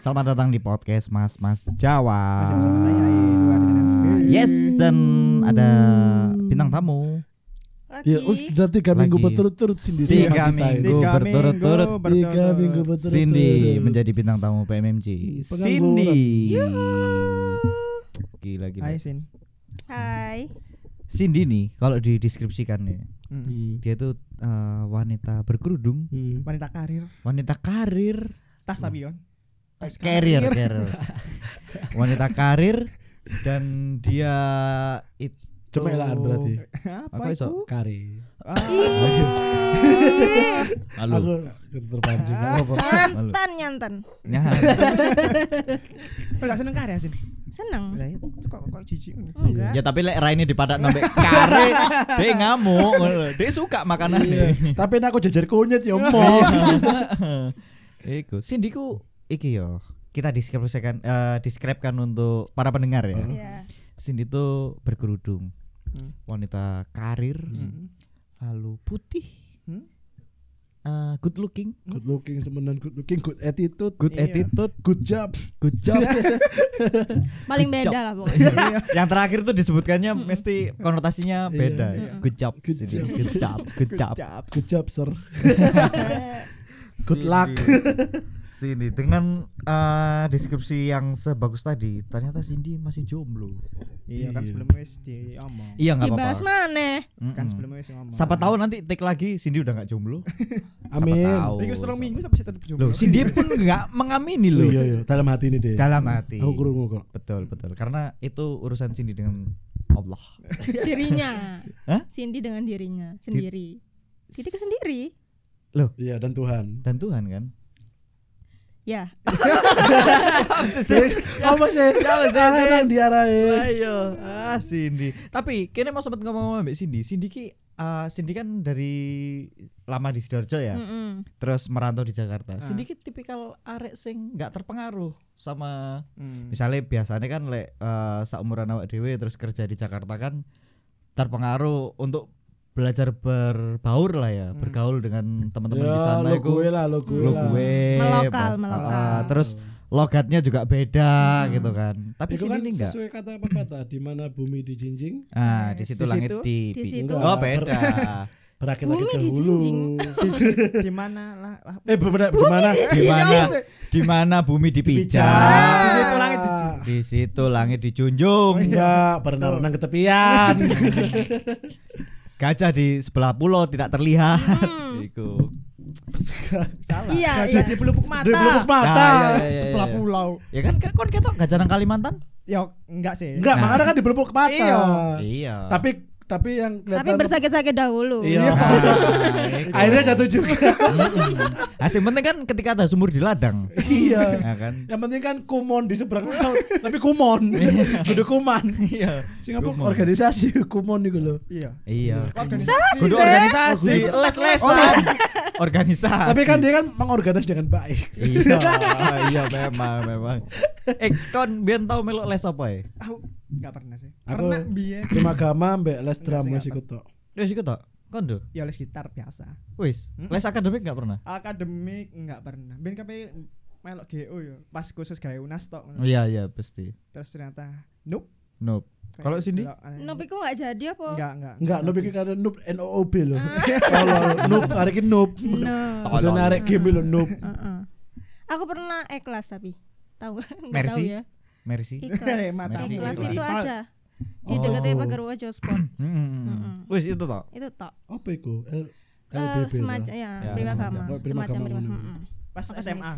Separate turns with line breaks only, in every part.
Selamat datang di podcast Mas Mas Jawa.
Masih bersama saya Edward dengan Spirit.
Yes dan ada bintang tamu.
Ya, us- sudah tiga
Lagi.
minggu berturut-turut Cindy
Tiga
sehat kita ini.
minggu
Tiga
berturut-turut.
minggu
tiga
berturut.
minggu berturut-turut.
Cindy menjadi bintang tamu PMMG.
Pengangguran.
Cindy. Gila gila.
Hai Sin.
Hai.
Cindy nih kalau dideskripsikan ya,
Hmm.
Hmm.
dia tuh eh, wanita berkerudung,
Hmm.
Wanita karir,
wanita karir,
tas tapi Yon. Tas
Karir, karir. wanita karir dan dia itu ya,
Cemelaan berarti.
Apa
Aku iso.
Oh.
itu?
Kari.
Ah,
Halo.
Aku terpancing. nggak apa-apa.
Nyantan, nyantan.
Nah,
lu gak seneng karir Sin?
Seneng.
Lah, itu kok kok jijik.
Enggak.
ya tapi lek Raine dipadak nombek kare, dia ngamuk, dia suka makanan
Iya. Tapi ini aku jajar kunyit ya
Iya.
opo.
Iku, Cindy ku iki yo. Kita deskripsikan eh deskripsikan untuk para pendengar ya.
Ya.
Cindy itu berkerudung.
Hmm.
Wanita karir, lalu putih.
Hmm.
eh, good looking,
Good looking semenan good looking good attitude.
good
Iya.
attitude,
Good job.
good job.
Paling
Kecap.
beda lah pokoknya.
Yang terakhir tuh disebutkannya mesti konotasinya beda ya. Good job,
Good
Cindy.
job.
good job, good job.
Good job sir. Good
Sini.
luck.
Sini dengan eh, deskripsi yang sebagus tadi, ternyata Cindy masih jomblo.
Iya kan
Iya.
sebelum wis diomong.
Iya nggak apa-apa.
Dibahas mana?
Mm-mm.
Kan sebelum wis ngomong.
Siapa tahu nanti take lagi Cindy udah nggak jomblo.
Amin.
Oh, Siapa tahu.
Iku setelah minggu sampai tetep jomblo.
Loh, Cindy pun nggak mengamini
Iya
loh.
iya dalam hati ini deh.
Dalam hati.
Aku kerungu kok.
Betul, betul. Karena itu urusan Cindy dengan Allah.
Dirinya.
Hah?
Cindy dengan dirinya sendiri. Cindy ke sendiri.
Loh,
Iya dan Tuhan.
dan Tuhan kan?
Ya.
Apa sih?
Ya,
Apa sih? Yang diarahin.
Ayo, ah Cindy. Tapi kayaknya mau sempat ngomong sama Mbak Cindy. Cindy ki eh, Cindy kan dari lama di Sidoarjo ya.
Mm-mm. Ah.
terus merantau di Jakarta. Sedikit tipikal arek sing nggak terpengaruh sama
Hmm.
misalnya biasanya kan lek eh, saumuran awak dhewe terus kerja di Jakarta kan terpengaruh untuk belajar berbaur lah ya, bergaul dengan teman-teman
Hmm. Ya,
di sana
lo
iku.
gue lah, lo gue
Lo
lah.
gue,
Melokal,
pas-
melokal.
ah, terus logatnya juga beda gitu kan. Tapi sini
Itu Hmm. kan
ini enggak.
sesuai kata pepatah di mana bumi dijinjing
Ah, di situ
Di
langit
situ?
di,
Di situ.
Oh, beda.
berakit-akit
Bumi
ke hulu.
dijinjing.
Di mana lah? ah,
Eh benar gimana?
di mana di mana bumi dipijak.
Di situ langit dijinjing.
Di situ langit dijunjung.
Enggak, berenang-renang ke tepian.
gajah di sebelah pulau tidak terlihat. Iku.
Salah.
Iya,
Gajah
iya.
di pelupuk
Di
mata.
pelupuk mata.
Nah, iya, iya, iya,
Sebelah
iya.
pulau.
Ya kan kan kon ketok gajah nang Kalimantan?
Ya enggak sih.
Enggak,
Nah.
makanya kan di pelupuk mata.
Iya.
Iya.
Tapi tapi yang kelihatan
Tapi bersakit-sakit dahulu.
Ah,
Iya. Akhirnya jatuh juga.
Asing penting kan ketika ada sumur di ladang.
iya.
ya kan?
Yang penting kan kumon di seberang laut, tapi kumon. Kudu kuman.
Iya.
Singapura
Kumon.
organisasi kumon iku lho.
Iya.
Iya.
Organisasi.
Kudu organisasi, les-lesan. Organisasi.
Oh, iya. Tapi kan dia kan mengorganis dengan baik.
Iya, iya memang memang. Eh, kon biar tahu melok les apa ya?
Aku enggak pernah sih.
Aku
Pernah biyen.
cuma agama mbek les drum
sih,
wis
nggak
iku tok.
Wis iku tok. Kon do.
Ya les gitar biasa.
Wis, les akademik enggak pernah?
akademik nggak pernah ben kape melok GO ya pas khusus gawe UNAS tok ngono.
Iya, iya pasti.
terus ternyata nope eh.
Nope. Kalau Cindy?
Nopi kok nggak jadi apa?
enggak enggak
Enggak, noob iki kada noob N O O B lho. Kalau noob arek iki noob.
No.
Bisa narik game lho noob.
Heeh. Aku pernah ikhlas tapi tahu nggak tahu
Mercy?
ya.
Mercy.
Ikhlas.
Matamu
Eh, Ikhlas Oh.
ikhlas.
itu ada di dekatnya Pagarwa Josport.
Hmm. Wis itu toh.
itu tok.
Apa iku? L
Eh,
LBB.
semacam
lah.
ya,
Ya,
Primagama.
semacam. Oh,
semacam
Primagama
Primagama.
ngono.
Mm-mm.
pas
Akademis.
SMA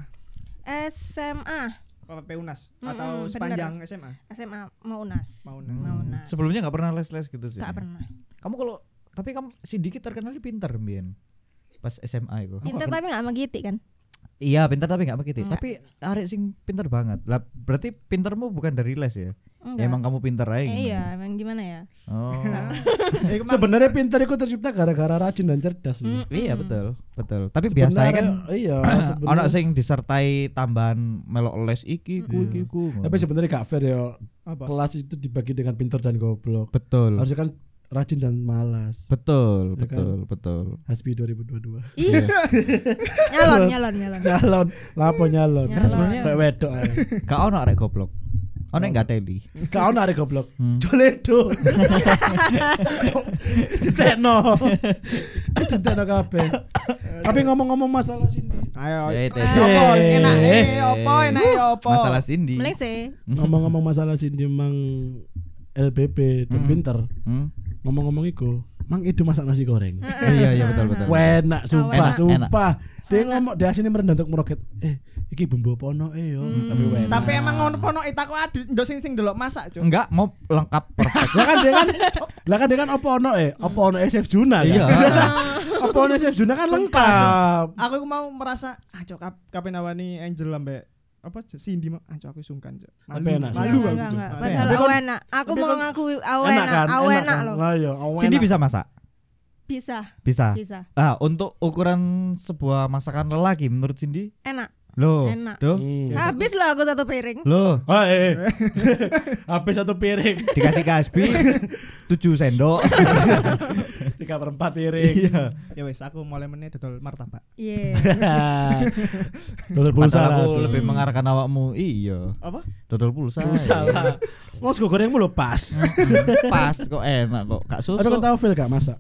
SMA,
apa UNAS
Mm-mm,
atau
bener.
sepanjang SMA
SMA mau UNAS.
mau
Hmm.
UNAS
Maunas.
Sebelumnya nggak pernah les-les gitu sih.
Gak pernah.
Kamu kalau tapi kamu si Diki terkenalnya pinter Mbien. Pas SMA itu.
Pinter tapi gak megiti kan?
Iya, pinter tapi nggak begitu. Tapi arek sing pinter banget. Lah berarti pintermu bukan dari les ya?
Enggak.
Emang kamu pinter aja.
Eh,
gimana?
iya, emang gimana ya?
Oh.
Eh, kemana?
Sebenarnya pintar iku tercipta gara-gara rajin dan cerdas lho.
iya betul, betul. Tapi biasanya kan
Sebenarnya- iya,
anak
sebenarnya.
sing disertai tambahan melok les iki ku
Hmm.
iki ku.
Tapi sebenarnya gak fair ya.
apa
Kelas itu dibagi dengan pintar dan goblok.
betul.
Harusnya kan rajin dan malas.
Betul,
Ya kan?
betul, betul.
Hasbi 2022.
Ih. nyalon, nyalon, nyalon.
Nyalon, lapo nyalon.
Karena
sebenarnya kayak wedok ae.
Kau ono arek goblok. Ono enggak teli.
Kau narik goblok.
Hmm.
Doledo. Cetekno. Cetekno kabeh. Tapi ngomong-ngomong masalah sini.
Ayo.
Ya, itu.
Oh,
Uh,
Apa
Eh.
enak? Eh, apa enak? eh, Apa?
Masalah Cindy.
Mending sih.
Ngomong-ngomong masalah sini mang LBP dan pinter.
Hmm?
Ngomong-ngomong iku, mang itu masak nasi goreng.
Oh, iya iya betul betul.
Wenak sumpah,
Enak,
sumpah. Dia ngomong dia sini merendah untuk meroket. Eh, iki bumbu apa ono eh yo.
Hmm.
Tapi wenak.
Tapi emang ngono pono itaku adit ndok sing sing delok masak, Cuk.
Enggak mau lengkap perfect.
lah kan dia kan lah kan dia kan apa ono eh apa ono SF Juna kan?
Iya.
apa ono SF Juna kan lengkap
Aku iku mau merasa ah Cuk kap- kapan awani Angel ambek apa Cuk, Cindy mau ah Cuk aku sungkan, Cuk. Malu.
Apa enak, Cuk?
Malu aku,
Enggak,
Cuk.
enggak. Padahal
Tapi
aku
kan-
enak. Aku
tapi
mau
kan
ngakui aku
enak
enak,
kan
aku enak loh.
Lah iya, aku
Cindy
enak.
bisa masak?
Bisa,
Bisa.
bisa.
Ah, untuk ukuran sebuah masakan lelaki menurut Cindy?
Enak.
Loh.
Enak.
Duh.
Hmm.
Habis loh aku satu piring.
Loh,
Ah, eh, eh. habis satu piring
dikasih kasbi 7 sendok.
tiga perempat piring
Iya.
Ya wes aku mulai meneh dodol martabak.
Iya.
Dodol pulsa
Padahal
lah
aku
tuh.
lebih mengarahkan awakmu. Iya.
Apa?
Dodol Hmm. pulsa.
pulsa lah mau sego gorengmu lo pas
Pas kok enak Nah, kok. Kak Susu.
Aduh kan tahu feel gak masak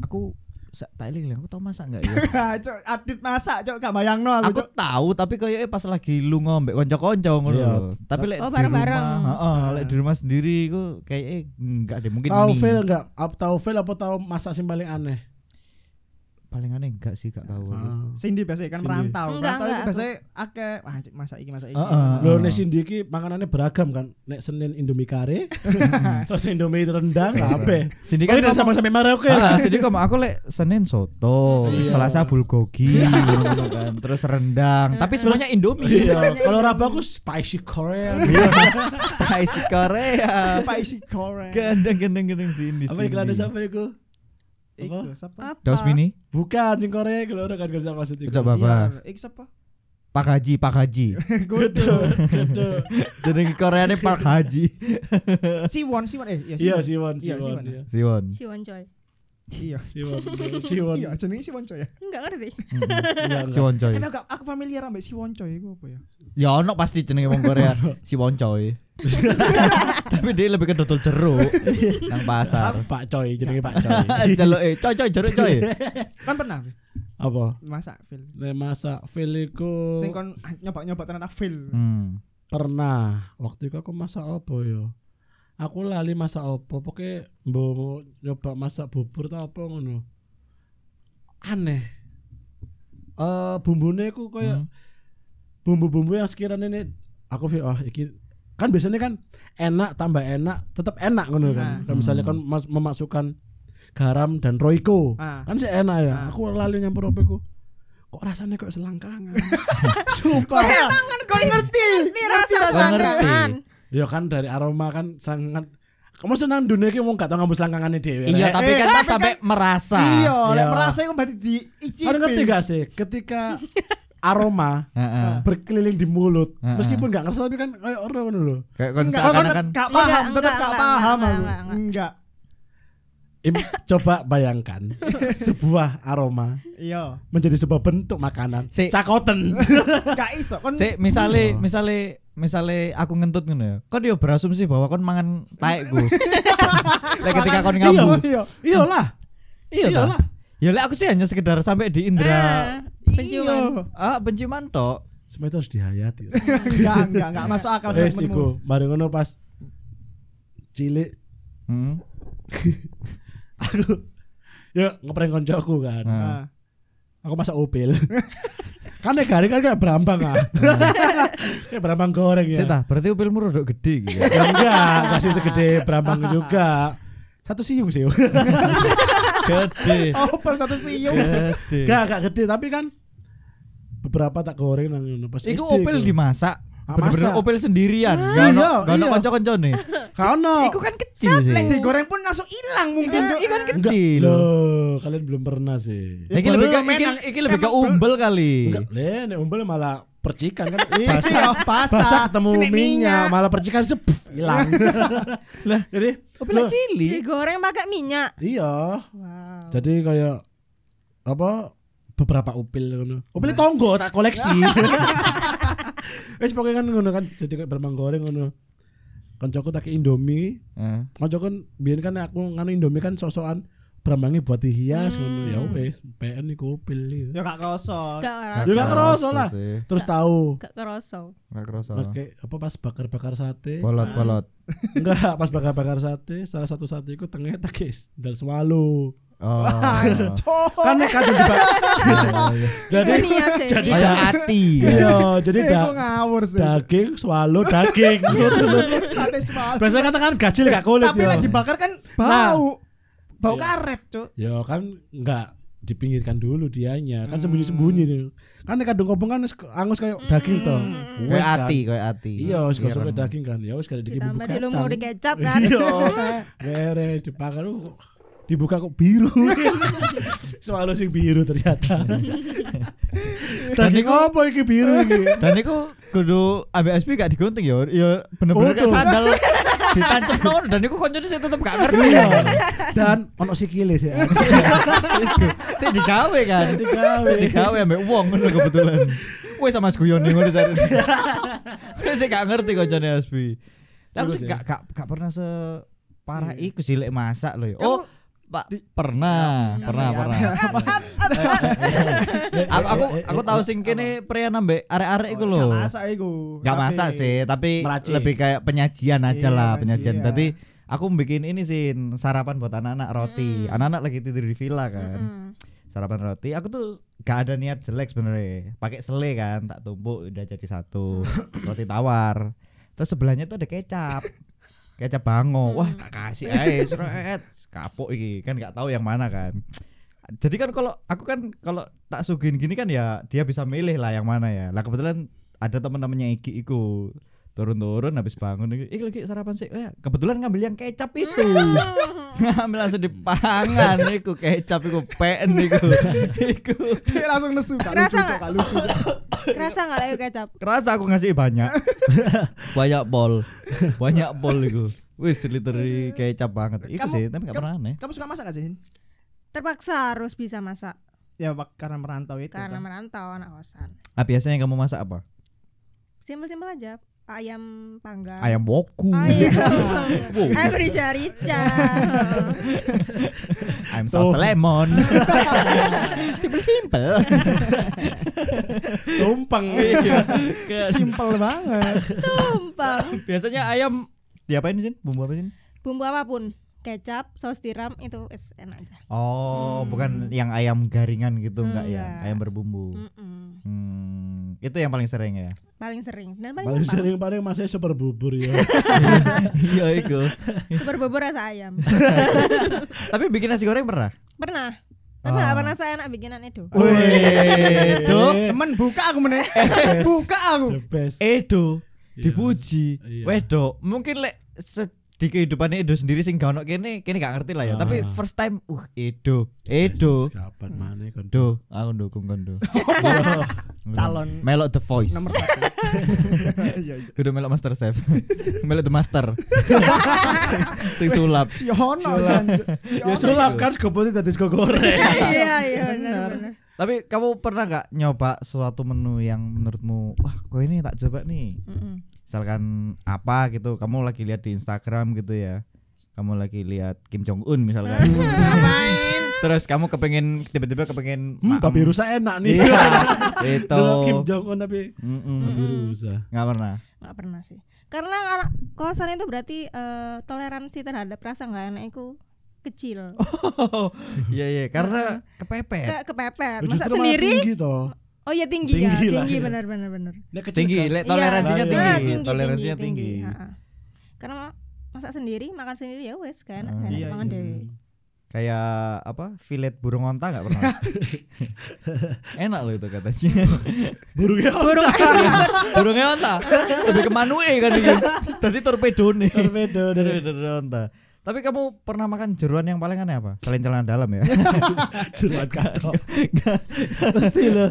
aku sa- tak eling aku tau masak enggak ya?
Ah, Cuk, adit masak, Cuk. Gak bayangno aku,
aku
Cuk.
tahu tapi kayaknya pas lagi lu ngombe konco-konco ngono
Iya.
lho. Tapi lek
Oh,
di
bareng-bareng.
rumah, heeh, lek di rumah sendiri ku kayaknya enggak deh mungkin
tahu
mie.
feel gak Ap- tahu feel apa tahu masak sing paling aneh
Paling aneh enggak sih gak tahu. aku.
Cindy biasanya kan
Cindy.
merantau.
Enggak,
Merantau
enggak,
itu
aku-
biasanya akeh wah Cuk, masak iki masak iki.
Heeh.
Loh nek Cindy iki makanannya beragam kan. Nek Senin Indomie kare, terus Indomie rendang kabeh.
Sini kan
Kan udah
ngomong-
sama-sama Maroko ya.
Ah, sini kok aku lek Senin soto, Selasa bulgogi, ngono kan. terus rendang. Tapi sebenarnya Indomie.
Iya, kalau Rabu aku spicy Korean.
Iya, Spicy Korea.
Spicy goreng.
Gendeng-gendeng-gendeng sini.
Apa
sini.
iklannya sampai aku?
Iku sapa?
Apa?
Daos mini,
Bukan yang Korea kalau orang kan gak sama maksud itu.
coba apa?
Iya, Iku sapa?
Pak Haji, Pak Haji.
Gede, gede.
Jeneng Koreane Pak Haji.
Siwon, Siwon eh iya
Iya
Siwon. Iya,
Siwon, Siwon.
Siwon.
iya.
Siwon.
Siwon coy.
Iya.
Siwon, Siwon.
Iya, jenenge Siwon coy ya.
Oh,
Enggak ngerti.
Siwon coy.
Tapi aku gak- aku familiar ambek Siwon coy iku apa ya?
Ya ono pasti jenenge wong Korea si Woncoy. Tapi dia lebih ke dodol jeruk nang pasar.
Pak Coy, jenenge Pak Coy.
Iya.
Jeluk eh coy coy jeruk coy.
Kan pernah Fil?
Apa?
masak Phil.
Nek masak filiku
Sing kon ah, nyoba-nyoba tenan ah, Phil.
Hmm.
pernah waktu itu aku masak apa yo aku lali masak apa pokoknya mau nyoba masak bubur tau apa ngono aneh eh bumbunya aku
Hmm.
kayak bumbu-bumbu yang sekiranya ini aku feel oh iki kan biasanya kan enak tambah enak tetap enak ngono
Hmm.
kan Kayak misalnya kan mas- memasukkan garam dan roiko
Ah.
kan sih enak ya aku lali nyampur apa aku kok rasanya kok selangkangan sumpah
ya?
Kau ngerti. Ngerti rasa selangkangan.
Ya kan dari aroma kan sangat kamu senang dunia ini wong gak tau ngambus langkangane dhewe.
Iya
Rek.
tapi
eh,
kan
tapi
tak sampai merasa.
Iya, lek
Iya.
merasa iku berarti diicipi.
Kan ngerti gak sih ketika aroma
Heeh.
Nah.
berkeliling di mulut meskipun gak ngerasa tapi kan kayak orang ngono lho.
Kayak kon
Enggak, kan
seakan-akan
gak paham,
Enggak,
tetep gak
enggak, enggak,
paham
enggak,
aku.
enggak, enggak.
Enggak.
Im, coba bayangkan sebuah aroma
Iya.
menjadi sebuah bentuk makanan.
Si-
Cakoten.
Gak iso kon
Sik
Iya.
misale misale misale aku ngentut ngono ya. Kon yo berasumsi bahwa kon mangan taekku. Lek ketika kon
Iya,
ngambu.
iya.
Iyalah. Iyalah.
Ya lek aku sih hanya sekedar sampai di
Eh,
indra.
Penciuman.
Iya.
Ah penciuman tok.
Semua itu harus dihayati.
Enggak, enggak, enggak masuk akal
Eh,
Wes
statementmu.
iku, mari ngono pas cilik
Hmm.
aku ya ngeprank koncoku kan.
Ah.
aku masak opel kan nek garing kan kayak berambang ah kayak berambang goreng ya
Sik ta, berarti upilmu rodok gede gitu.
ya enggak kasih segede berambang juga satu siung sih
Gede.
Oh, per satu siung.
Gede.
enggak enggak gede tapi kan beberapa tak goreng nang ngono pas
Iku
SD
opel
ku.
dimasak.
Gak
bener-bener
masak.
opel sendirian
Ah,
gak ono
iya,
gak ono
iya.
kanca-kancane
Kau no.
Iku kan
Kecil
kecil
Iya sih.
Lek digoreng pun langsung hilang mungkin
Ikan-
Cok.
ikan
kecil
Loh, kalian belum pernah sih.
Iki lebih ke
belum,
iki,
enak.
iki lebih ke
Emang belum.
umbel kali.
Enggak, le, nek umbel malah percikan kan
Iya,
basah,
basah.
basah ketemu
Kena
minyak,
minyak.
malah percikan sep hilang. lah, jadi
Opel
lo-
cili.
Digoreng pakai minyak.
iya.
Wow.
Jadi kayak apa beberapa upil ngono. Upil tonggo tak koleksi. Wes pokoknya kan ngono kan jadi kayak bermang goreng ngono. Kancaku tak kei Indomie,
Heeh.
Ojo kan biyen kan aku nganu Indomie kan sosokan brambangnya buat dihias ngono ya wis PN iku upil.
Ya gak kosong.
Gak
Ya
kerasa.
gak kerasa lah.
sih.
Terus tahu
Gak kerasa.
Enggak kerasa.
Oke, apa pas bakar-bakar sate?
Bolot-bolot.
Enggak, pas bakar-bakar sate, salah satu sate iku tengahnya tak guys, dan semalu.
Oh.
Cok.
Kan kadang dibak- jadi
Ini niat sih.
jadi
Kayak ati. ya.
Iya, jadi
Eh,
da-
kok ngawur sih.
daging swallow daging. Gitu loh.
Sate semalam.
Biasanya kan kan gajil gak kulit
Tapi
ya.
lek dibakar kan
Nah.
bau. Bau
Iya.
karet, Cok.
Ya kan enggak dipinggirkan dulu dianya kan sembunyi-sembunyi tuh. kan nek kadung kobong kan wis angus kayak
Hmm.
daging toh
Kayak
Wes kan.
ati, kayak ati.
iya wis
Iya,
gosok
kan.
daging kan ya wis kali dikirim
Ditambah
bubuk
dilumuri
kacang.
kecap kan.
iya beres dibakar uh, dibuka kok biru swallow sing biru ternyata
Dan
daging
iku-
apa iki biru iki
Dan iku kudu ambek SP gak digunting ya. Ya bener-bener kayak
Utuh.
sandal ditancep dan iku koncone sih tetep gak ngerti.
Iya. dan ono sikile sih
Sik digawe kan.
Digawe.
Sik digawe ambek wong ngono kebetulan. Wes sama Mas Guyon ngono jare. Wes sik gak ngerti koncone Asbi. Lah aku sih gak gak gak pernah se parah iku sih lek masak lho ya. Oh, Pak pernah, pernah, pernah. Aku aku aku tahu sing kene prean ambek arek-arek iku lho.
Gak masak iku.
Gak
Tapi-
masak sih, tapi
Meraci.
lebih kayak penyajian aja
Iya,
lah, penyajian.
penyajian.
Tadi aku bikin ini sih sarapan buat anak-anak roti. Anak-anak lagi tidur di villa kan. Sarapan roti. Aku tuh gak ada niat jelek sebenarnya. Pakai sele kan, tak tumpuk udah jadi satu roti tawar. Terus sebelahnya tuh ada kecap. Kecap bango. Wah, tak kasih ae seret. Kapok iki, kan gak tahu yang mana kan. Jadi kan kalau aku kan kalau tak suguhin gini kan ya dia bisa milih lah yang mana ya. Lah kebetulan ada teman-temannya Iki iku turun-turun habis bangun iki "Iki lagi sarapan sih. Eh, kebetulan ngambil yang kecap itu. ngambil langsung dipangan iku kecap iku pen iku. iku.
Dia langsung nesu Kak
Kerasa
lucu, Cok,
nggak?
Kak lucu.
Eh?
Cok.
Kerasa gak lah kecap?
Kerasa aku ngasih banyak. banyak bol. Banyak bol iku. Wis literally kecap banget. Iku
Kamu-
sih tapi gak
kamu-
pernah aneh.
Kamu suka masak gak sih? Hin?
Terpaksa harus bisa masak
Ya bak- karena merantau itu. kan.
karena merantau anak kosan.
Ah, biasanya kamu masak apa?
Simpel-simpel aja. Ayam panggang.
Ayam woku.
Ayam.
Wow.
Ayam rica-rica.
I'm sauce lemon. Oh. simple simple.
tumpeng Iya.
Simple banget.
Tumpeng.
Biasanya ayam diapain sih? Bumbu apa sih?
Bumbu apapun. Kecap, saus tiram itu is enak aja.
Oh, bukan yang ayam garingan gitu enggak ya?
Enggak.
Ayam berbumbu.
Mm-mm.
Hmm, itu yang paling sering ya.
Paling sering dan paling, gampang.
paling sering paling masih super bubur ya
Iya itu.
Super bubur rasa ayam.
Tapi bikin nasi goreng pernah?
Pernah.
Ah.
Tapi
Oh,
gak pernah saya enak bikinan Edo.
Wih, Edo,
Temen buka aku meneh.
Eh.
Buka aku.
the best
Edo
Iya.
dipuji.
Iya.
Wedok, mungkin lek se- di kehidupannya Edo sendiri sing gak ono kene, kene gak ngerti lah ya. Tapi first time uh Edo, Edo.
Ah. Yes, Kapan mana kon
Do, aku dukung kan do.
Calon.
Melok The Voice.
Nomor satu. Iya, iya.
Udah melok Master Chef. melok The Master. Sing sulap.
Si Ya, Ono San. Si
Ya
Ono.
sulap kan skopotnya tadi sego goreng.
Iya iya benar.
Tapi kamu pernah gak nyoba suatu menu yang menurutmu wah kok ini tak coba nih. Misalkan apa gitu, kamu lagi lihat di Instagram gitu ya. Kamu lagi lihat Kim Jong Un misalkan. Terus kamu kepengen tiba-tiba kepengen
Hmm,
maem.
babi rusa enak nih.
Iya. itu.
Delok Kim Jong Un tapi
Mm-mm.
babi rusa.
Nggak pernah.
Gak pernah sih. Karena anak kosan itu berarti eh, toleransi terhadap rasa nggak enak itu kecil.
Iya iya, karena kepepet.
Ke kepepet.
Lu
Masa
justru malah
sendiri?
Tinggi toh.
Oh ya tinggi,
Tinggi
ya,
lah,
tinggi
iya.
benar benar benar.
Lek kecil
tinggi,
kan.
lek Eh, toleransinya
Iya,
tinggi,
Ah, tinggi,
toleransinya tinggi. Ah.
ha-ha. Karena masak sendiri, makan sendiri ya wes kan. enak
iya,
mangan dewe.
kayak apa filet burung onta nggak pernah enak loh itu katanya
burungnya
burung burungnya onta lebih ke manue kan ini jadi torpedo nih
torpedo dari
torpedo onta tapi kamu pernah makan jeruan yang paling aneh apa selain celana dalam ya
jeruan katok
Nggak.
pasti loh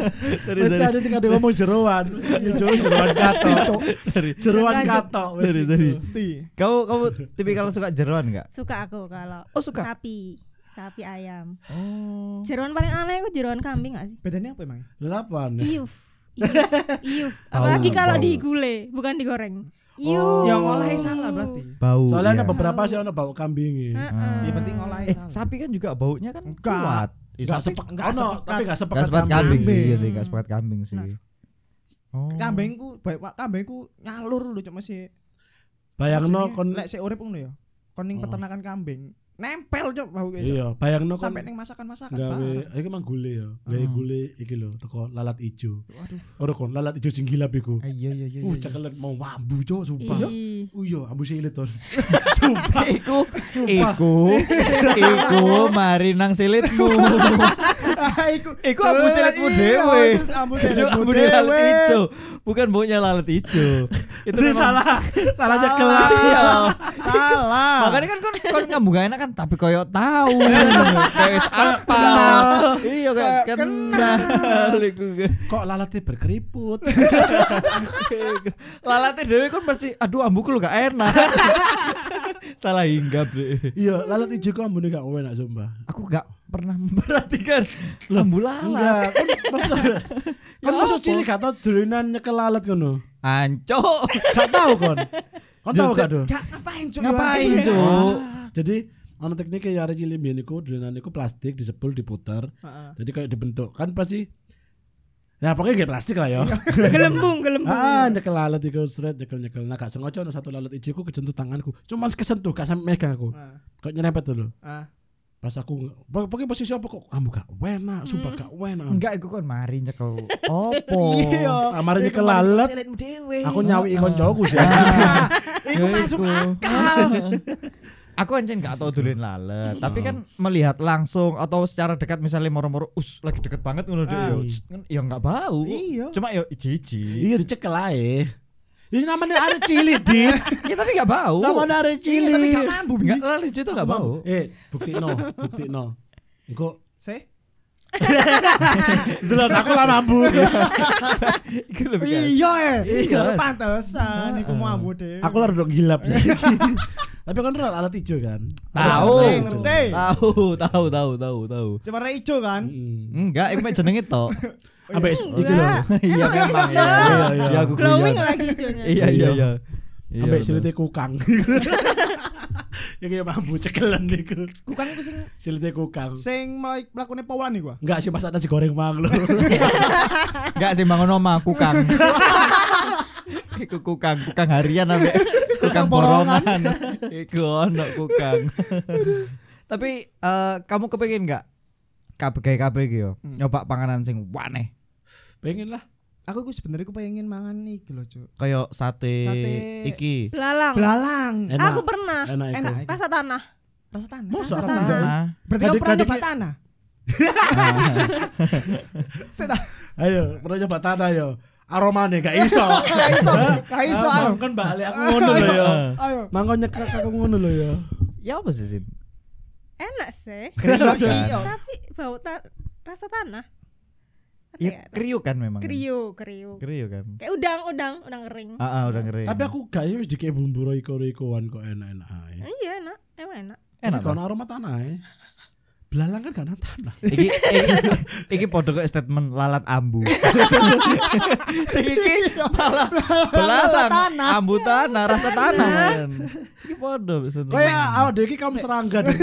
Sorry,
pasti
sorry.
ada tingkat dia ngomong jeruan Mesti jeruan jeruan katok jeruan gitu.
Lanjut.
katok
Sorry, sorry.
Pasti.
kamu kamu tipikal suka jeruan nggak
Suka aku kalau
Oh, suka?
sapi, sapi ayam.
oh
Jeroan paling aneh aku jeroan kambing gak sih?
Bedanya apa emang?
Lha apa aneh?
Iuf. Iuf. Iuf. Apalagi
Bau,
kalau
bau.
digule, bukan digoreng.
Oh.
Iuf.
Yang ngolahnya Ya, eh, salah berarti.
bau
soalnya
iya.
ada beberapa sih ono bau kambing ya
Ya penting ngolahnya
eh
salah.
sapi kan juga baunya kan
Nggak.
kuat Eh,
Gak
sapi-
sepek,
nggak
ono,
sepekat.
tapi gak sepek
Gak sepakat kambing, sih, iya sih, gak
Hmm.
sepakat kambing sih.
Benar.
Oh.
Kambingku baik Pak, kambingku nyalur lho cuma sih.
Bayangno
Maksudnya,
kon
lek sik urip ngono ya.
Hmm.
Kon ning peternakan kambing. Nempel cok bau kayak
iya, bayangno kon
Sampai ning masakan-masakan.
gawe
Pak.
iki mang gule ya. Gawe gule iki lho teko lalat ijo. Ora kon lalat ijo sing gilap iku.
Ah, Iya iya iya.
Uh, cekelen mau wambu cok sumpah.
Ih.
Uh yo, ambu silit ton. Sumpah.
Iku, iku, iku, mari nang silitmu. iku, iku ambu
Eh,
silitmu
iya,
dewe.
terus ambu
Itu Iya,
silitmu
ambu lalat
dewe.
ijo, bukan baunya lalat ijo. Itu
Itu salah, salahnya kelak.
Iya.
Salah.
Makanya kan kon kon ngambu gak enak kan tapi koyo tahu. Kayak wis apa? Iya kayak kenal iku.
Kok lalatnya berkeriput?
Lalatnya dewe kan pasti aduh ambuku lu gak enak. Salah hinggap deh.
Iya, lalat ijo kok ambune gak enak sumpah.
aku gak pernah memperhatikan lembu lalat
Enggak, kon masa Kon masa
Ya
cilik gak tau dolenan nyekel lalat ngono.
anco
Gak tau kon. Kon tau gak do?
Gak ngapain cok?
ngapain cuk
Jadi ana tekniknya ya arek cilik mbiyen iku dolenan iku plastik disebul diputer. Jadi kayak dibentuk kan pasti Ya pokoknya kayak plastik lah ya.
Iya.
Gelembung, gelembung.
ah, nyekel lalat iku seret nyekel nyekel. Nah, gak sengaja ono satu lalat ijiku kejentuh tanganku. Cuma kesentuh, gak sampe megang aku. Kok nyerempet dulu.
Ah.
Pas aku pokoknya posisi apa kok ambu gak enak, sumpah gak enak.
enggak iku kon mari nyekel opo
Amare Iya. Ah, nyekel lalat,
Silitmu dewe.
aku nyawi koncoku sih.
Ah. iku masuk aku anjen gak tau dulin lalat tapi kan melihat langsung atau secara dekat misalnya moro-moro us lagi deket banget ngono deh yo ya nggak bau
Iya.
cuma yo jiji
Iya dicekel ae. Ini Ya, namanya arek cilik, Dit.
ya tapi gak bau
Namanya arek
Iya, tapi
cilik.
gak mampu nggak lalat itu gak bau
Eh, bukti no, bukti no. Engko
Sih?
Delon aku lah mampu.
Iku lebih kayak-
Iya eh.
Iya.
Pantesan iku mau ambu dewe.
aku lah duduk gilap sih. Tapi kan rel alat ijo kan.
tahu
Ngerti, ngerti.
tahu tahu tahu tahu tahu
Cuma warna ijo kan?
Enggak, iku mek jenenge tok.
Ambek
Oh,
iki lho.
Enggak.
Iya memang ya.
Iya, iya.
Iya aku
Glowing
kuliah.
lagi hijaunya.
Iya iya iya. Iya,
Ambek
bener.
silite kukang. Ya kayak mampu cekelan niku.
Iya.
Bukan kan iku sing
Silite kukang.
sing mulai melakukan polan iku. ah.
Enggak sih pas ada si goreng mang lho.
Enggak sih bangun oma kukang. Iku kukang, kukang harian ambek kukang borongan. Iku ono kukang. Tapi eh, kamu kepengin enggak kabeh kabeh iki yo nyoba panganan sing waneh
Pengen lah.
Aku iku sebenarnya aku pengen mangan iki lho, Cuk.
kayak sate,
Sate.
iki.
Belalang.
Belalang.
Enak.
Aku pernah.
Enak iku.
Enak.
Rasa tanah.
Rasa tanah.
Masa
Rasa
tanah?
tanah.
Nah,
Berarti kamu pernah
Kadek-kadeknya-
nyoba tanah? Seta.
Ayo, pernah coba tanah yo.
Eh,
Aromane gak iso.
Gak iso, gak iso
Ah,
ayo.
Kan balik aku ngono lho yo.
Ayo.
Mangko nyekak aku ngono lho yo.
ya apa sih Sin?
Enak sih.
Kriuk
Iya.
kan?
Tapi bau ta- rasa tanah. Apa
Ya,
ya?
Iya,
kriuk kan memang.
Kriuk, kriuk.
Kriuk kan.
Kayak udang, udang, udang kering.
Ah, ah, udah ngeri.
Tapi aku gak wis dikek bumbu roiko-roikoan kok enak-enak ae.
Iya enak, emang enak.
enak.
Tapi kalau aroma tanah ya. Belalang kan karena tanah.
iki iki, iki podo kok statement lalat ambu. Sing iki malah belasan ambu tanah rasa tanah. kan? men. Iki podo statement.
Kayak awak dhewe iki kaum serangga deh.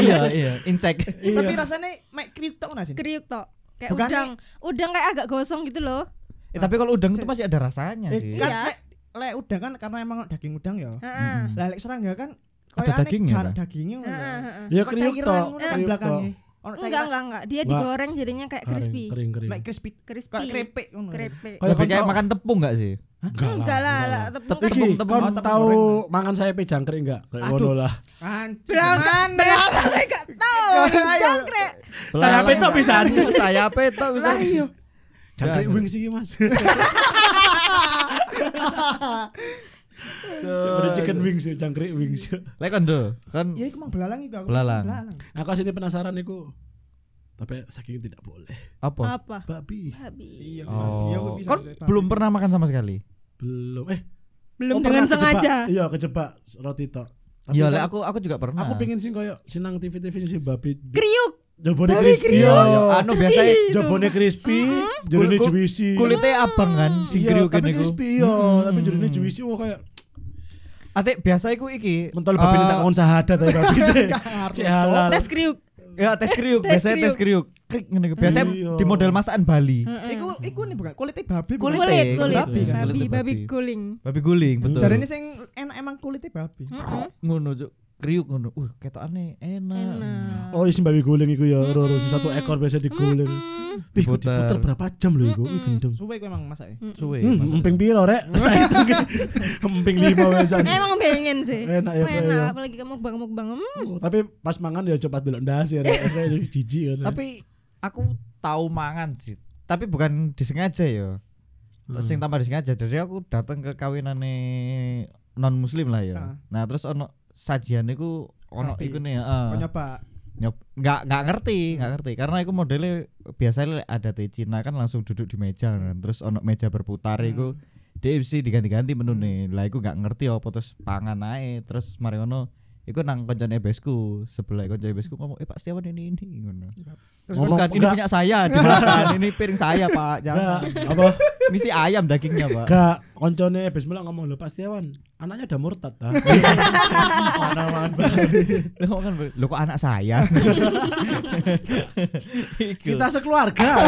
iya iya insek.
Tapi rasanya mek kriuk tok nasi.
Kriuk tok. Kayak
Iya. Bukannya-
udang. Udang kayak agak gosong gitu loh.
Eh, tapi kalau udang itu masih ada rasanya
Eh,
sih.
Kan
Iya.
lek- lek udang kan karena emang daging udang ya.
Heeh.
Lah lek serangga kan
Ada
koyoane
dagingnya,
gak ada
Pak?
dagingnya. ngono.
ya, heeh, heeh.
Iya,
Ya
Kok
kriuk
cairan
tok.
ngono nang belakangnya. Ono
Enggak,
cairan
enggak, enggak. Dia
Enggak.
digoreng jadinya kayak crispy.
Kering kering.
mek crispy.
Crispy.
Kayak keripik ngono.
Keripik.
Kayak
Lebih kayak
kontrol.
makan tepung gak sih?
Enggak lah, lah. tepung kan
Iki,
tepung-
kon
tepung
tahu
goreng.
mangan saya jangkrik enggak? Kayak ngono lah.
Anjir.
belang kan belang enggak tahu jangkrik.
Saya petok iya. pisan.
Saya petok pisan.
Jangkrik wings iki, Mas. Udah chicken wings, ya, jangkrik wings. ya.
Lek kondo, kan
Ya iku mang belalang iku aku.
Belalang.
Aku aslinya penasaran iku. Tapi saking tidak boleh.
apa?
Apa?
Babi.
Babi.
Iya. Iya aku
Oh,
bisa.
kan
bisa.
belum pernah makan sama sekali.
Belum. Eh,
Belum
oh,
dengan
pernah kejebak.
sengaja.
Iya, kejebak roti tok. Tapi
Iya,
kan-
lek aku Nah. aku juga pernah.
Aku pengen sih koyo sinang TV-TV sih babi.
Kriuk.
Jabone
Babi
crispy.
Iya,
Iya,
iya. anu biasanya
Jabone crispy,
Kul-
jerone
kul-
juicy.
kulitnya abang kan sing
Iya,
kriuk
tapi
kene iku.
crispy yo, tapi jerone juicy wah kayak
Ate biasa iku iki.
mentol babi
eh,
tak kon sahadat ae babi. Cek halal.
Tes kriuk.
Ya tes kriuk, biasanya tes kriuk. Hmm. Krik ngene iku. Biasanya
Iya.
di model masakan Bali.
Iku iku nih bukan kulitnya babi. bukan?
Kulit,
Kulit,
kulit
kulit.
babi kan?
Babi,
Kulit
babi
babi.
guling.
Babi guling, betul.
Jarene sing enak emang kulitnya babi.
ngono cuk. Kriuk ngono. Uh, ketokane enak.
Oh, isi babi guling iku ya, loro sing satu ekor biasa diguling. Wih, iku
Diputer. Iya,
diputer berapa jam lho iku? Ih, gendeng.
Suwe iku emang e. masake.
Suwe.
Hmm, emping piro rek? Emping lima wesan.
Eh, Emang pengen sih.
Enak ya, Pak, ya.
Enak apalagi kamu bang-bang.
Oh, tapi pas mangan ya coba delok ndas ya rek. Rek, jijik ya. rek.
Tapi aku tahu mangan sih. Tapi bukan disengaja ya. Sing tanpa disengaja. Jadi aku datang ke kawinane non muslim lah ya.
Ah.
Nah, terus ono sajian iku ono
Babi.
iku nih,
Kau
heeh.
nyoba.
Nyop- nggak nggak ngerti nggak ngerti karena aku modelnya biasanya ada teh Cina kan langsung duduk di meja kan terus ono meja berputar
Hmm.
iku dia mesti diganti-ganti menu nih lah aku nggak ngerti apa terus pangan aja terus mari ngono iku nang kencan ebesku sebelah kencan ebesku ngomong eh Pak Setiawan ini ini ngono terus
Iya. Ngomong,
bukan ini
"Enggak."
punya saya di belakang ini piring saya Pak
Gak,
jangan
apa?
ini si ayam dagingnya Pak
Gak, koncone Bismillah ngomong lho Pak Setiawan, anaknya udah murtad ta. Mana mangan babi.
lo kan lo kok anak saya Iku.
Kita sekeluarga.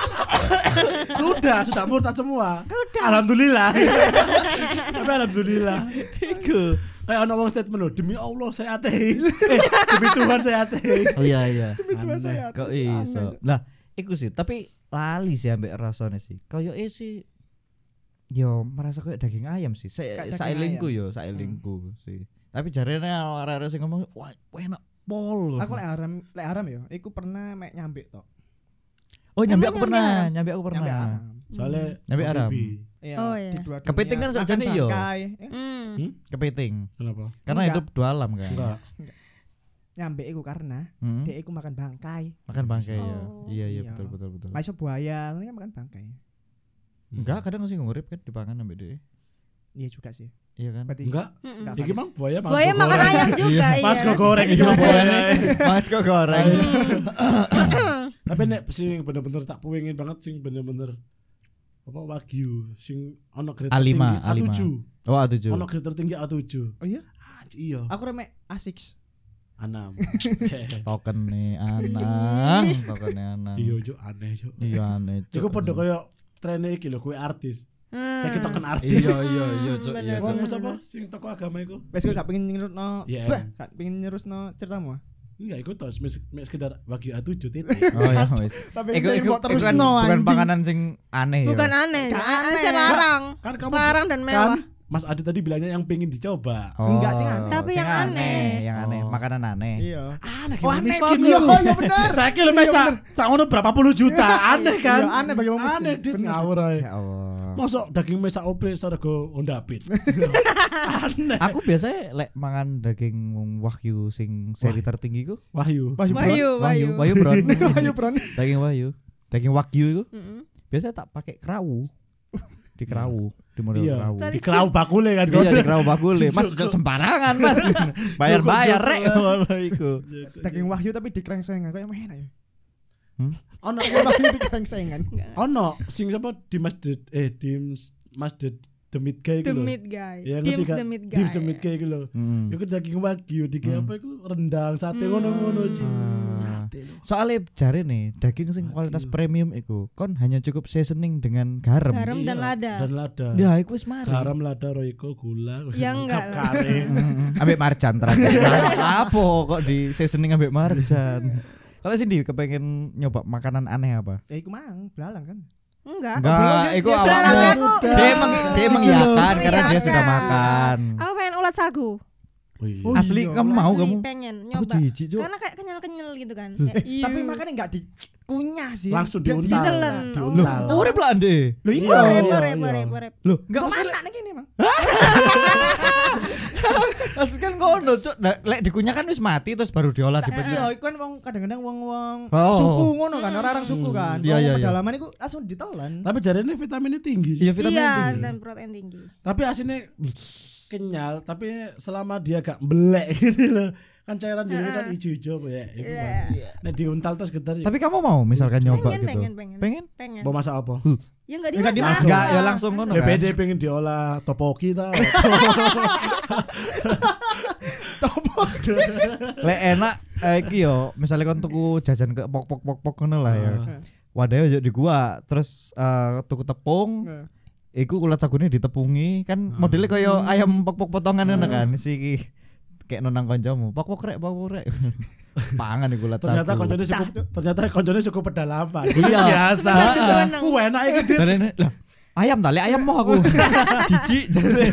sudah, sudah murtad semua. Alhamdulillah. Tapi alhamdulillah.
Iku.
Kayak ono wong statement lho, demi Allah saya ateis. Eh, demi Tuhan saya ateis.
Oh iya iya.
saya
Kok iso? Lah, iku sih, tapi lali sih ambek rasane sih. Kayoke sih yo merasa kayak daging ayam sih. Saya
Kayak daging Hmm.
saelingku yo, saelingku sih. Tapi jarene arek-arek sing ngomong, "Wah, enak pol."
Aku lek haram, lek haram ya. Iku pernah mek nyambik tok.
oh, nyambi
Emang
aku
nyambi
pernah, nyambi aku pernah.
Nyambik haram.
Soalnya
Nyambi haram.
Bibi.
Iya,
Oh, iya.
di dua dunia.
Kepiting kan
Makan
sajane iya.
bangkai. Eh,
Hmm.
Kepiting.
Kenapa?
Karena
Enggak.
hidup dua alam kan.
Enggak.
Nyambik iku karena
Hmm?
dia iku makan bangkai.
Makan bangkai ya.
Oh.
Iya iya
Iya.
betul betul betul.
Lah iso buaya, ini kan makan bangkai.
Enggak, kadang sih ngurip kan dipangan ambek dia.
Iya juga sih.
Iya kan?
Berarti
Enggak.
Enggak.
Iki mang buaya mas.
Buaya makan ayam juga iya.
Mas kok goreng iki mang buaya.
Mas kok goreng.
tapi nek sing bener-bener tak pengen banget sing bener-bener apa wagyu sing ono grade
A5,
tertinggi
A5.
A7
Oh, A7.
ono grade tertinggi A7
Oh iya,
Anj, iya
aku remek A6.
A6
token nih anang token nih anang
iya juk aneh juk
iya aneh
iku
Cuk.
padha kaya trene iki lho kowe artis saiki token artis
iya iya iya cok iya cok
wong wis apa sing teko agama iku
Wes gue gak pengen nyerutno.
Iya.
Bah, gak pengen nyerusno ceritamu.
Eh.
enggak iku tos mes mes sekedar wagyu A7 titik
oh iya wis
Tapi
Iku-
kita
iku-
mau
iku
terus
kan
no,
bukan
anjing.
panganan sing aneh
Bukan
ya
aneh.
Gak
Aja
aneh.
larang.
kan kamu
Larang dan mewah.
kan Mas Adi tadi bilangnya yang pengen dicoba
Oh,
Enggak sih, aneh.
Tapi
sing
yang aneh.
yang aneh makanan aneh
Iya.
aneh
Wah,
gimana
aneh
miskin
banget.
yo.
Iya, iya bener.
Saiki lho mes sak sak ngono berapa puluh juta aneh kan
Iya, aneh bagi wong miskin.
aneh dit
Bener.
ngawur ae
ya Allah
Mosok daging mesak opre sergo Honda Beat. Aneh.
aku biasanya lek mangan daging wagyu sing seri tertinggi ku
Wahyu.
Wahyu Brown.
Wahyu, wahyu.
wagyu brown
Wahyu Brown.
daging wagyu daging wagyu itu biasanya tak pakai kerawu di kerawu di model
Iya.
kerawu
Di kelau bakule kan.
Iya di kerau bakule Mas udah sembarangan mas Bayar-bayar rek Ngono iku.
Daging Wahyu tapi dikrengsengan kayak mana ya?
Ono
Wahyu dikrengsengan.
ono sing sapa di masjid eh di masjid Demit Gay
The
iku lho.
meat guy.
Ya, ngerti
Dims
kan?
the meat guy.
Dims the meat Gay iku lho.
Hmm.
Iku daging wagyu di apa iku rendang sate ngono-ngono Ci.
Hmm.
Sate lho.
Soalnya jare nih daging sing kualitas premium iku kon hanya cukup seasoning dengan garam.
Garam dan
Iya,
lada.
Dan lada.
Ya iku wis mari.
Garam lada roiko gula.
Ya, enggak lah.
Kare.
Ambek marjan terakhir. Lah, Apa kok di seasoning ambek marjan? Kalau Cindy kepengen nyoba makanan aneh apa?
Ya iku mang belalang kan.
Enggak.
Enggak, iku
Ya, sudah
awalnya
lah, aku-
dia emang dia mengiyakan
Iya,
karena dia sudah
enggak.
makan.
Aku pengen ulat sagu.
Oh iya.
Oh,
Asli
iya.
kamu mau
Asli
kamu?
Pengen
Aku
nyoba.
jijik, Cuk.
Karena kayak kenyal-kenyal gitu kan.
Eh, tapi makannya nggak dikunyah sih
Langsung
Dia
diuntal.
ditelan.
Ditelen.
Loh,
Diuntal.
urip lah Ande.
Loh, iya.
Iya, rep,
iya,
rep,
iya.
rep, rep.
Loh, enggak
Kok
masalah.
mana nih gini Mang?
Asli kan ngono, Cuk. Nah, Lek dikunyah kan wis mati terus baru diolah
Iya,
Eh,
ya.
dipencet.
iku kan wong kadang-kadang wong-wong
Oh.
suku ngono kan, orang-orang suku
Hmm.
kan.
Iya,
Wong
iya, iya.
pedalaman iku langsung ditelan.
Tapi jarinnya vitaminnya tinggi. sih.
Iya, vitamin
Iya,
tinggi.
dan protein tinggi.
Tapi asinnya kenyal, tapi selama dia gak belek gitu loh. Kan cairan jeruk kan ijo-ijo apa ya. Itu kan. Nah diuntal terus getar. ya.
Tapi kamu mau misalkan nyoba
Pengen,
gitu.
pengen, pengen.
Pengen?
Pengen.
mau masak apa?
Ya enggak
Enggak
dimasak.
dimasak.
Enggak, ya langsung ngono
Ya
kan.
beda pengen diolah topoki tau.
Lek enak eh, iki yo, misalnya kon tuku jajan ke pok pok pok pok ngono lah ya. Wadahnya ojo di gua, terus eh, tuku tepung,
Nah,
iku ulat sagune ditepungi kan modelnya kaya ayam pok pok potongan ngono kan si kayak nonang koncomu pok pok rek pok pok rek pangan iku ulat sagu
ternyata konjone suku ternyata konjone suku pedalaman.
Iya.
Biasa.
Sebentar, sebentar.
Ku enak iki Dit.
Dan ini, lah ayam tali ayam mau aku jijik jadi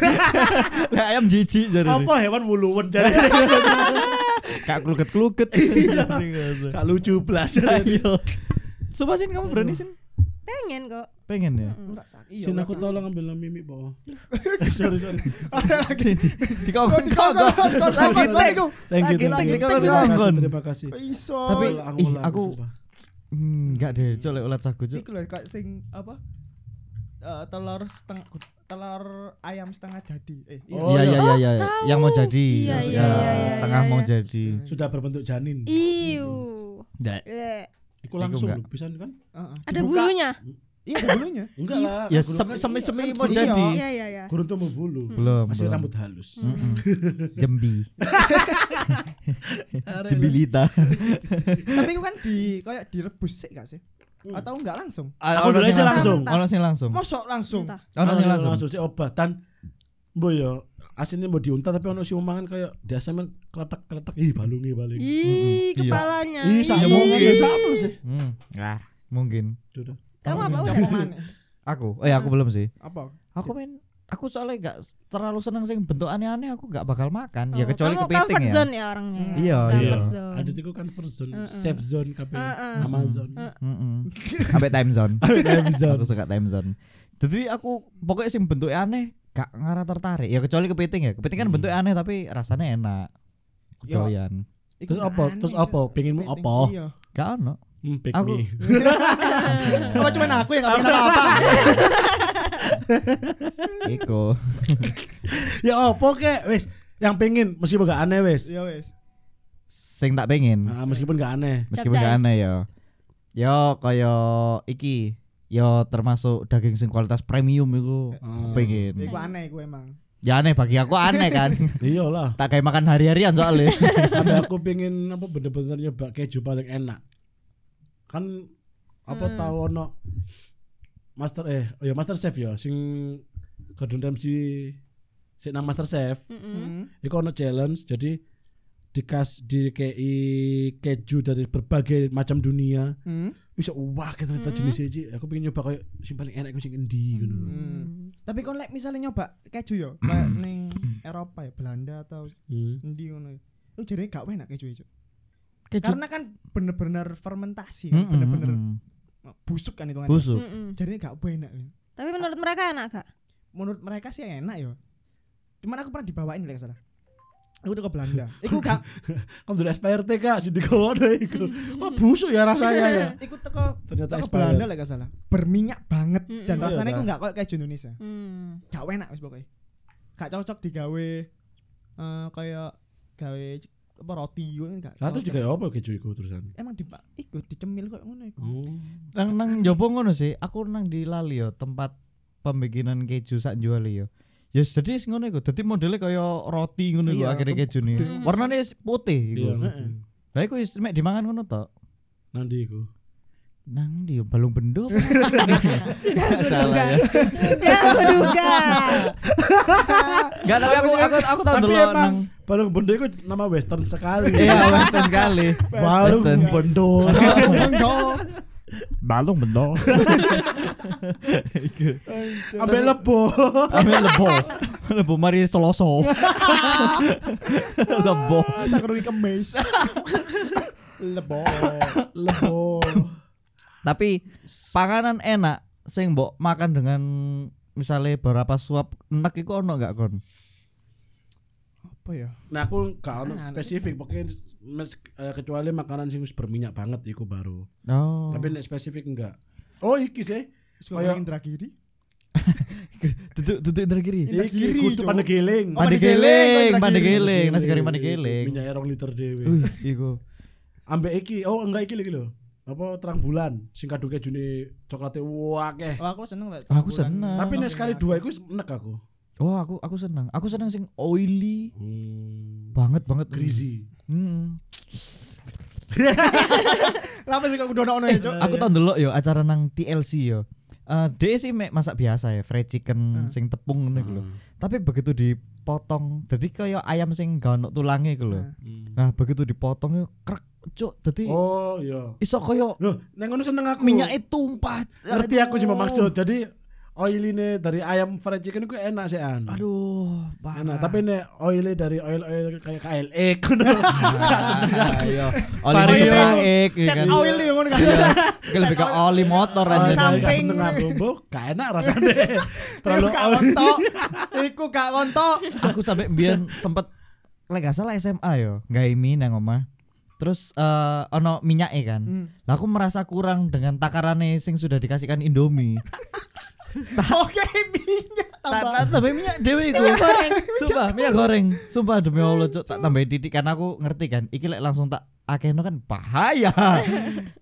lah ayam jijik jadi
Apa hewan wuluwen dari
Iya. kak kluket kluket Iya.
gak lucu blas.
ayo Sumpah Iya. Sin, kamu berani sin
Pengen kok.
pengen ya
urat sak- iya,
Sin
urat
aku
sak-
tolong ambil mimi bawah. Eh, sorry sorry.
Sin, di- di kongkon kongkon lagi tek
Thank you.
Lagi
thank you.
tek, kongkon
Terima kasih,
kongkon
Terima kasih.
Iso.
Tapi, ih,
Oh, ngulang,
aku-
sumpah.
Hmm, enggak deh colek ulat sagu Cuk.
iku lho kayak sing apa? Eh, telur setengah telur ayam setengah jadi. Eh, iya.
Oh,
Iya iya iya iya
tahu.
yang mau jadi
Iya,
ya,
iya, iya, iya,
setengah
iya,
mau
iya.
jadi.
sudah berbentuk janin.
Iu.
Nggak.
Eh,
Iku langsung
Iku enggak. Iya.
lho, bisa kan?
Heeh.
Ada
Dibuka.
bulunya.
Iya, ada bulunya.
Enggak lah.
Ya
gurun
semi
kan-
semi, semi
kan
mau
iya.
jadi
Iya, iya, iya.
gurun tumbuh bulu.
Belum,
Masih
belum.
rambut halus.
jembi
Arek
jebilita.
Tapi iku kan di kayak direbus sih gak sih?
Hmm.
Atau enggak langsung?
Aku dulu sih langsung.
Ono sing langsung.
Mosok langsung.
Entah.
Ono sing langsung.
langsung sih obatan. Mbok yo asinnya mau diuntal tapi ono si umangan kayak biasa men kletek-kletek ih balunge paling.
Iya,
Iya.
Ih, kepalanya.
Ih,
Ih.
sama
iya,
mungkin sama sih.
Hmm. Nah, mungkin.
Duh, duh.
Kamu apa udah?
Copokan.
Aku, eh aku belum sih.
Apa?
Aku main aku soalnya gak terlalu seneng sing bentuk aneh-aneh aku gak bakal makan. Ya
Oh,
kecuali
kamu
kepiting
comfort
ya.
zone ya orangnya.
Iya, iya.
Comfort zone.
Ada tiku kan first zone, safe zone kabeh. Amazon.
Heeh. Sampai time zone.
Time zone.
Aku suka time zone. Jadi aku pokoknya sing bentuknya aneh gak ngarah tertarik. Ya kecuali kepiting ya. Kepiting kan bentuknya aneh tapi rasanya enak.
Yo.
Kedoyan.
Iku
Terus
gak
apa? Terus
aneh,
apa?
Cuk.
Pengenmu
Penting,
apa?
iya.
Gak ono.
Hmm, pick
Aku-
me.
Apa cuman aku yang gak pengen apa-apa?
Iku.
ya apa kek wis yang pengen meskipun gak aneh wis
Ya wes.
Sing tak pengen.
Ah, meskipun gak aneh
meskipun
Capcay.
gak aneh ya yo kaya iki yo termasuk daging sing kualitas premium iku pengen
Iku aneh iku emang.
ya aneh bagi aku aneh kan
iyalah
tak kayak makan hari-harian soalnya
ada aku pengen apa bener-bener nyoba keju paling enak kan apa tahu ono master eh oh ya master chef ya sing Gordon Ramsay sing nang master chef
Hmm.
iku ono challenge jadi dikas dikei keju dari berbagai macam dunia
Hmm.
bisa wah kita jenis iki aku pengen nyoba kayak sing paling enak iku sing endi ngono
Hmm. Tapi kon lek misalnya nyoba keju yo, kayak ning Eropa ya, Belanda atau
Hmm.
endi ngono. ya. Lu jadi gak enak keju itu.
Keju- Hmm,
Karena kan bener-bener fermentasi, kan,
Mm-mm,
bener-bener
mm-mm.
busuk kan hitungannya.
busuk
Mm-mm.
Jadi gak enak. ya.
Tapi menurut mereka enak gak?
Menurut mereka sih enak yo. Cuman aku pernah dibawain lek salah. Aku tuh ke Belanda. Iku gak
Kan dulu SPRT kak, sih di kono iku. Kok busuk ya rasanya ya.
Iku teko
Ternyata
teko
expired.
Belanda lah gak salah. Berminyak banget dan
Mm-mm.
rasanya
Iya,
iku gak kayak keju Indonesia.
Hmm.
Gak enak wis pokoknya. Gak cocok digawe eh kayak gawe c- apa roti ngono gak.
Lah terus
cocok.
juga apa keju iku terusan.
emang di iku dicemil kok ngono iku.
Hmm.
nang nang jopo ngono sih aku nang di lali yo tempat pembikinan keju sak jual yo Ya jadi wis ngono iku. Dadi modele kaya roti ngono iku
Iya,
akhirnya keju nih. Warnane wis putih iku.
Iya. ngerti.
Lah iku wis mek dimangan ngono tok.
Nanti iku.
Nang di balung bendok. Salah ya.
Udah aku duga.
Enggak tapi aku aku aku tahu
Tapi
dulu
emang
nang
balung bondo iku nama western sekali.
Iya, western Iya, sekali.
Balung
Western.
bondo.
Enggak.
balung bendo.
Ambil lebo.
Ame lebo. Lebo mari seloso. Lebo.
Sakrungi kemis. Lebo.
lebo.
Tapi panganan enak sing mbok makan dengan misalnya berapa suap enak iku ono gak kon?
Apa ya?
Nah aku gak ono spesifik pokoknya mes- eh, kecuali makanan sing wis berminyak banget iku baru.
Oh.
Tapi nek spesifik enggak. Oh iki sih.
Suara Indra Giri.
Duduk duduk ntar kiri.
Indra Giri,
Iya, Iki kudu
Cuk.
pandegeling.
Pandegeling,
Oh, pandegeling,
pandegeling, nasi goreng pandegeling.
Iya, Minyak rong liter dhewe.
Uh, iku.
Ambek iki, oh enggak iki lagi lho. Apa terang bulan sing kaduke june coklate wakeh.
Oh, aku seneng lah.
Aku
campuran.
seneng.
Tapi nek sekali dua iku enek aku.
Oh, aku aku senang. Aku senang sing oily banget banget
Greasy.
Hmm.
Lah apa sih kok dono ono ya, Cuk?
Aku tau ndelok yo acara nang TLC yo. Eh dia sih mek masak biasa ya, fried chicken
Hmm.
sing tepung ngono iku lho.
Hmm.
Tapi begitu dipotong, jadi kayak ayam sing gak ono tulangnya iku
Hmm.
lho. Nah, begitu dipotong yo krek cuk, dadi
Hmm. Oh iya.
iso koyo
Loh, nek ngono seneng aku.
minyaknya tumpah.
ngerti aku cuma maksud. Jadi oiline dari ayam fried chicken itu enak sih an.
Aduh, parah.
Enak, tapi nek oile dari oil oil kayak E, KLE kuno. Gak seneng aku.
Nah, iya. Oli
Vario.
masuk praik ya
Set
kan.
oil ya ngono
Iya,
kan.
Kayak lebih ke oli motor
Oil
aja.
Gak seneng aku, Bo. Gak enak rasanya. Terlalu
Iku gak
oil.
kontok. Iku gak kontok.
aku sampai biar sempet lek gak salah SMA yo nggak ini nang omah terus eh ono minyaknya kan
Hmm.
lah aku merasa kurang dengan takarane sing sudah dikasihkan Indomie
Oke, minyak
tak
tambah.
tak tambah minyak dewe iku sumpah minyak goreng sumpah demi Allah cuk tak tambah titik karena aku ngerti kan iki lek langsung tak akehno kan bahaya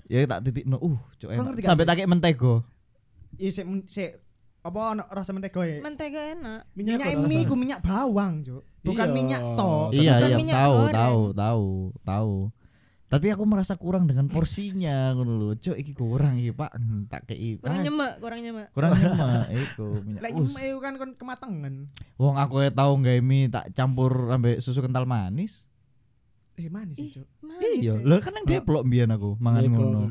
ya tak titikno uh cuk enak.
ngerti gak
sampai
sih?
tak kek mentego
Iya, sik sik apa ono rasa mentega ya?
mentega enak
Minyak
Minyak
kok
mie
rasanya.
ku minyak bawang, Cuk. Bukan
Iya.
minyak tok.
Tapi
iya
kan
iya
minyak
tahu
goreng.
tahu tahu tahu tapi aku merasa kurang dengan porsinya ngono lho cuk iki kurang iki Pak Hmm, tak kei
kurang
Ah,
nyemek kurang nyemek
kurang nyemek iku minyak
Lek
us.
nyemek iku kan kon kematangan.
wong aku ya tahu nggak ini tak campur ambek susu kental manis
Eh manis sih, Cuk.
manis
iya
Iya, ya.
lho kan yang deplok mbiyen aku mangan
Iku.
ngono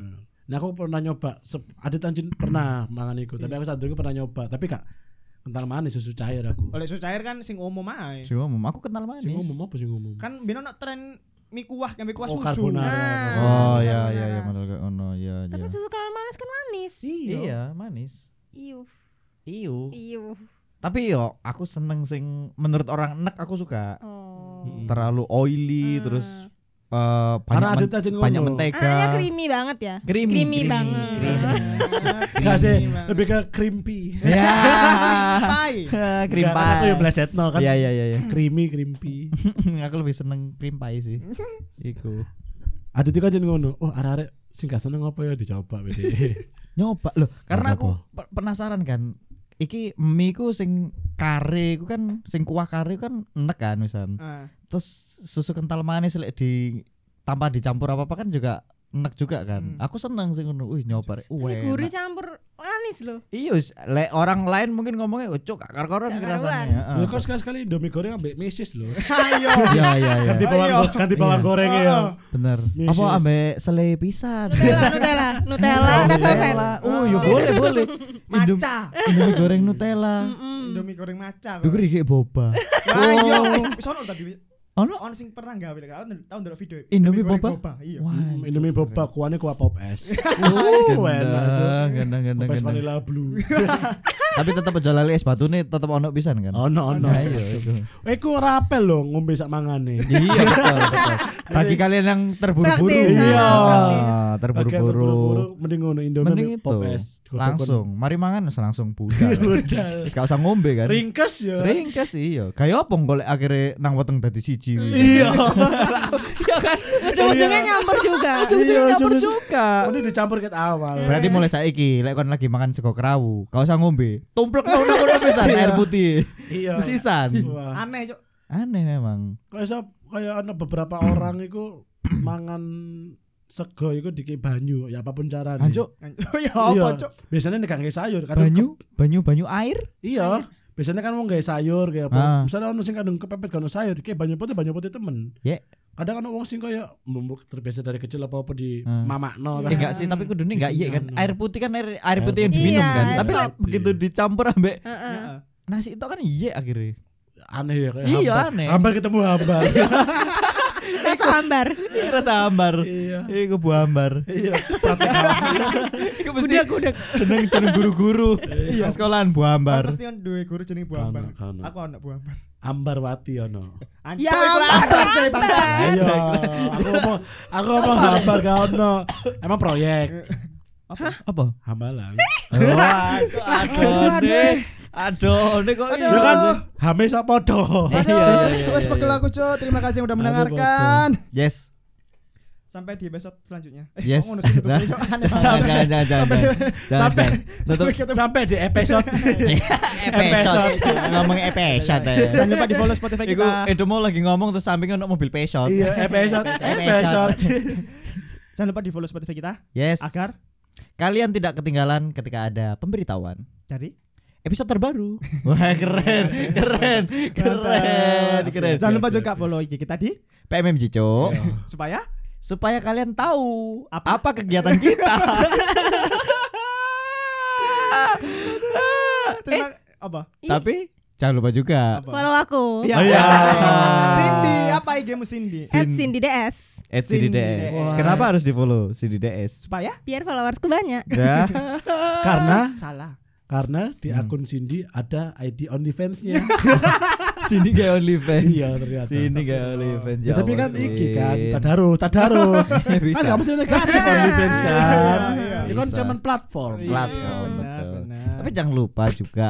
Nah aku pernah nyoba. Sep- Adit Anjin pernah mangan iku. Tapi aku saat dulu pernah nyoba. Tapi kak kental manis susu cair aku.
Oleh susu cair kan sing umum ae.
Cuma mom, aku kental manis Oh,
Sing umum apa sing umum?
Kan bino ono tren mie kuah kan mie kuah
Oh,
susu.
carbonara.
oh iya iya iya bener kayak ono iya iya
tapi susu kental manis kan manis
iya manis
iu Iya.
iyo
iu
tapi yo aku seneng sing menurut orang enak aku suka
oh
terlalu oily terus eh
Karena
banyak
ada
men-
tajin ngomong.
banyak mentega
anaknya creamy banget ya
Creamy, creamy.
banget
Gak sih, lebih ke crimpy.
ya
Pai.
krim
Gak, Aku
pie
yang bleset nol kan.
ya ya ya ya
Creamy, crimpy.
aku lebih seneng krim pie sih iku
Ada tuh kan ngono. Oh, arek-arek sing gak seneng apa ya dicoba BD.
nyoba loh karena
Apa-apa?
aku pe- penasaran kan iki mie ku sing kare ku kan sing kuah kare ku kan enek kan misan
Ah.
terus susu kental manis lek di tanpa dicampur apa apa kan juga enak juga kan aku seneng sih ngono wih nyoba rek. Wah, enak.
Ini gurih campur manis loh
Iya, s- lek orang lain mungkin ngomongnya "Oh, ucuk akar koron
Gak
rasanya.
Lho kok sekali-sekali Indomie goreng ambek mesis lho.
Ayo.
Iya iya iya.
Ganti bawang
Iya.
ganti bawang goreng ya.
Ah. Bener.
Yes,
Apa
yes.
ambek selai pisan?
Nutella Nutella Nutella ada solven
Oh, ya boleh boleh. Indom-
Maca. Mm.
Indomie goreng Nutella.
Indomie goreng maca.
Gue kira kayak boba. Oh.
Ayo. Wis iya. ono tadi.
Ono
Ono sing pernah gawe lek tahun tahun ndelok video. e.
Indomie
goreng
boba?
Iya.
Wah.
Hmm, Indomie boba kuahnya kuah pop es.
Gendeng,
Oh, enak.
gendeng, gendeng,
Pop es
gendeng.
vanilla blue.
Tapi tetap aja lali es batu nih tetap ono pisan kan.
Oh no no.
Nah, iya, itu.
Eh ku rapel lho ngombe sak mangane.
Iya betul, betul. Bagi kalian yang terburu-buru,
Praktis,
Iya,
praktis.
Agak
terburu-buru.
mending ngono Indomie
Mending itu
pop es.
langsung. Mari mangan wis langsung budal.
Budal.
Wis gak usah ngombe kan.
ringkes ya.
Ringkes iya. Kayak apa golek akhirnya nang weteng dadi siji.
Iya.
Iya kan.
ujung-ujungnya nyampur juga
Ujung-ujungnya
Iya,
dapur
ujung-ujung.
juga.
Ini dicampur ket awal.
Berarti mulai saiki lek kon lagi makan sego kerawu, gak usah ngombe. Tumplek nang kono pisan air putih.
Iya.
Sisan.
Wah.
Aneh, Cuk.
Aneh memang.
Kok iso kaya ana beberapa orang iku mangan sego iku dikei banyu ya apapun carane.
Anjuk,
Ya apa,
Iya.
Cuk?
Biasanya nek nggae sayur kadang
banyu, banyu banyu air.
Iya. Biasanya kan wong nggae sayur kayak apa.
Ah.
Misalnya ono sing kadang kepepet gak ono sayur, kayak banyu putih banyu putih temen.
Ya.
kadang ana wong sing kaya mbumbu terbiasa dari kecil apa apa di mamakno ta.
Eh, enggak sih, tapi kudune enggak iya kan. Air putih kan air, air putih yang
putih.
diminum
Iya,
kan.
air
Tapi
sop.
lek begitu dicampur ambek
Heeh.
nasi itu kan iya akhirnya.
aneh ya kayak
Iya,
hambar.
aneh.
Hambar ketemu hambar.
rasa hambar
Iya rasa hambar.
Iya.
Iku bu hambar.
Iya, praktek
Iku mesti jeneng jeneng guru-guru. Iya, sekolahan bu hambar.
Pasti kan dua guru jenenge Bu Ambar.
Kan, kan.
Aku anak Bu Ambar.
Ambarwati ono.
Anjir,
ya
aku
ampun,
Ambar sih bangsa.
Iya.
Ayo, aku ngomong aku ngomong hambar gak ono. Emang proyek
Apa?
hambalan.
Wah, Oh, aduh deh. Aduh, ini kok iya?
Ya kan, hame sapa do.
Aduh, wes pegel aku, Cuk. Terima kasih yang udah mendengarkan.
Yes.
Sampai di episode selanjutnya. Eh,
Yes.
kok ngono sih
Nah,
tutupnya, Cuk? Aneh banget.
Jangan jangan jangan jangan. Jangan.
Sampai-
jangan. Tutup
Sampai di episode
episode. Ngomong episode. ya.
Jangan lupa di follow Spotify
Iku
kita.
itu mau lagi ngomong terus sampingnya untuk mobil pesot.
Iya, episode episode.
Jangan lupa di follow Spotify kita
Yes.
agar
kalian tidak ketinggalan ketika ada pemberitahuan
jadi
episode terbaru. Wah, keren. Keren. Keren. Keren.
Jangan lupa juga follow IG kita di
PMM Cok.
supaya
Supaya kalian tahu apa,
Apa?
kegiatan kita.
terima apa?
Tapi jangan lupa juga
follow aku
Iya.
iya.
Cindy, apa IG-mu Cindy?
at Cindy DS
at CDDS.
Wah.
Kenapa harus di-follow CDDS?
Supaya
biar followersku banyak
Ya.
Karena
salah.
karena di
Hmm.
akun Cindy ada ID OnlyFans-nya.
Sini gak OnlyFans.
Iya, ternyata.
Sini gak OnlyFans.
Ya, tapi
Allah,
kan
Sin.
iki kan tadarus, tadarus.
Ya, bisa. Iya,
Kan enggak mesti negatif OnlyFans kan.
Iya,
Itu kan
bisa.
cuman platform.
platform
Iya, benar,
betul.
benar.
Tapi jangan lupa juga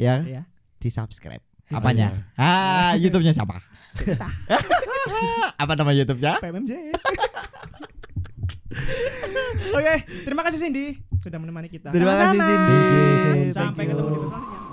ya
Iya.
di subscribe. Apanya? Ah, YouTube-nya siapa? Apa nama YouTube-nya?
PMMJ. Oke, terima kasih Cindy sudah menemani kita.
Terima kasih
Sama-sama.
Cindy.
Sampai ketemu di episode selanjutnya.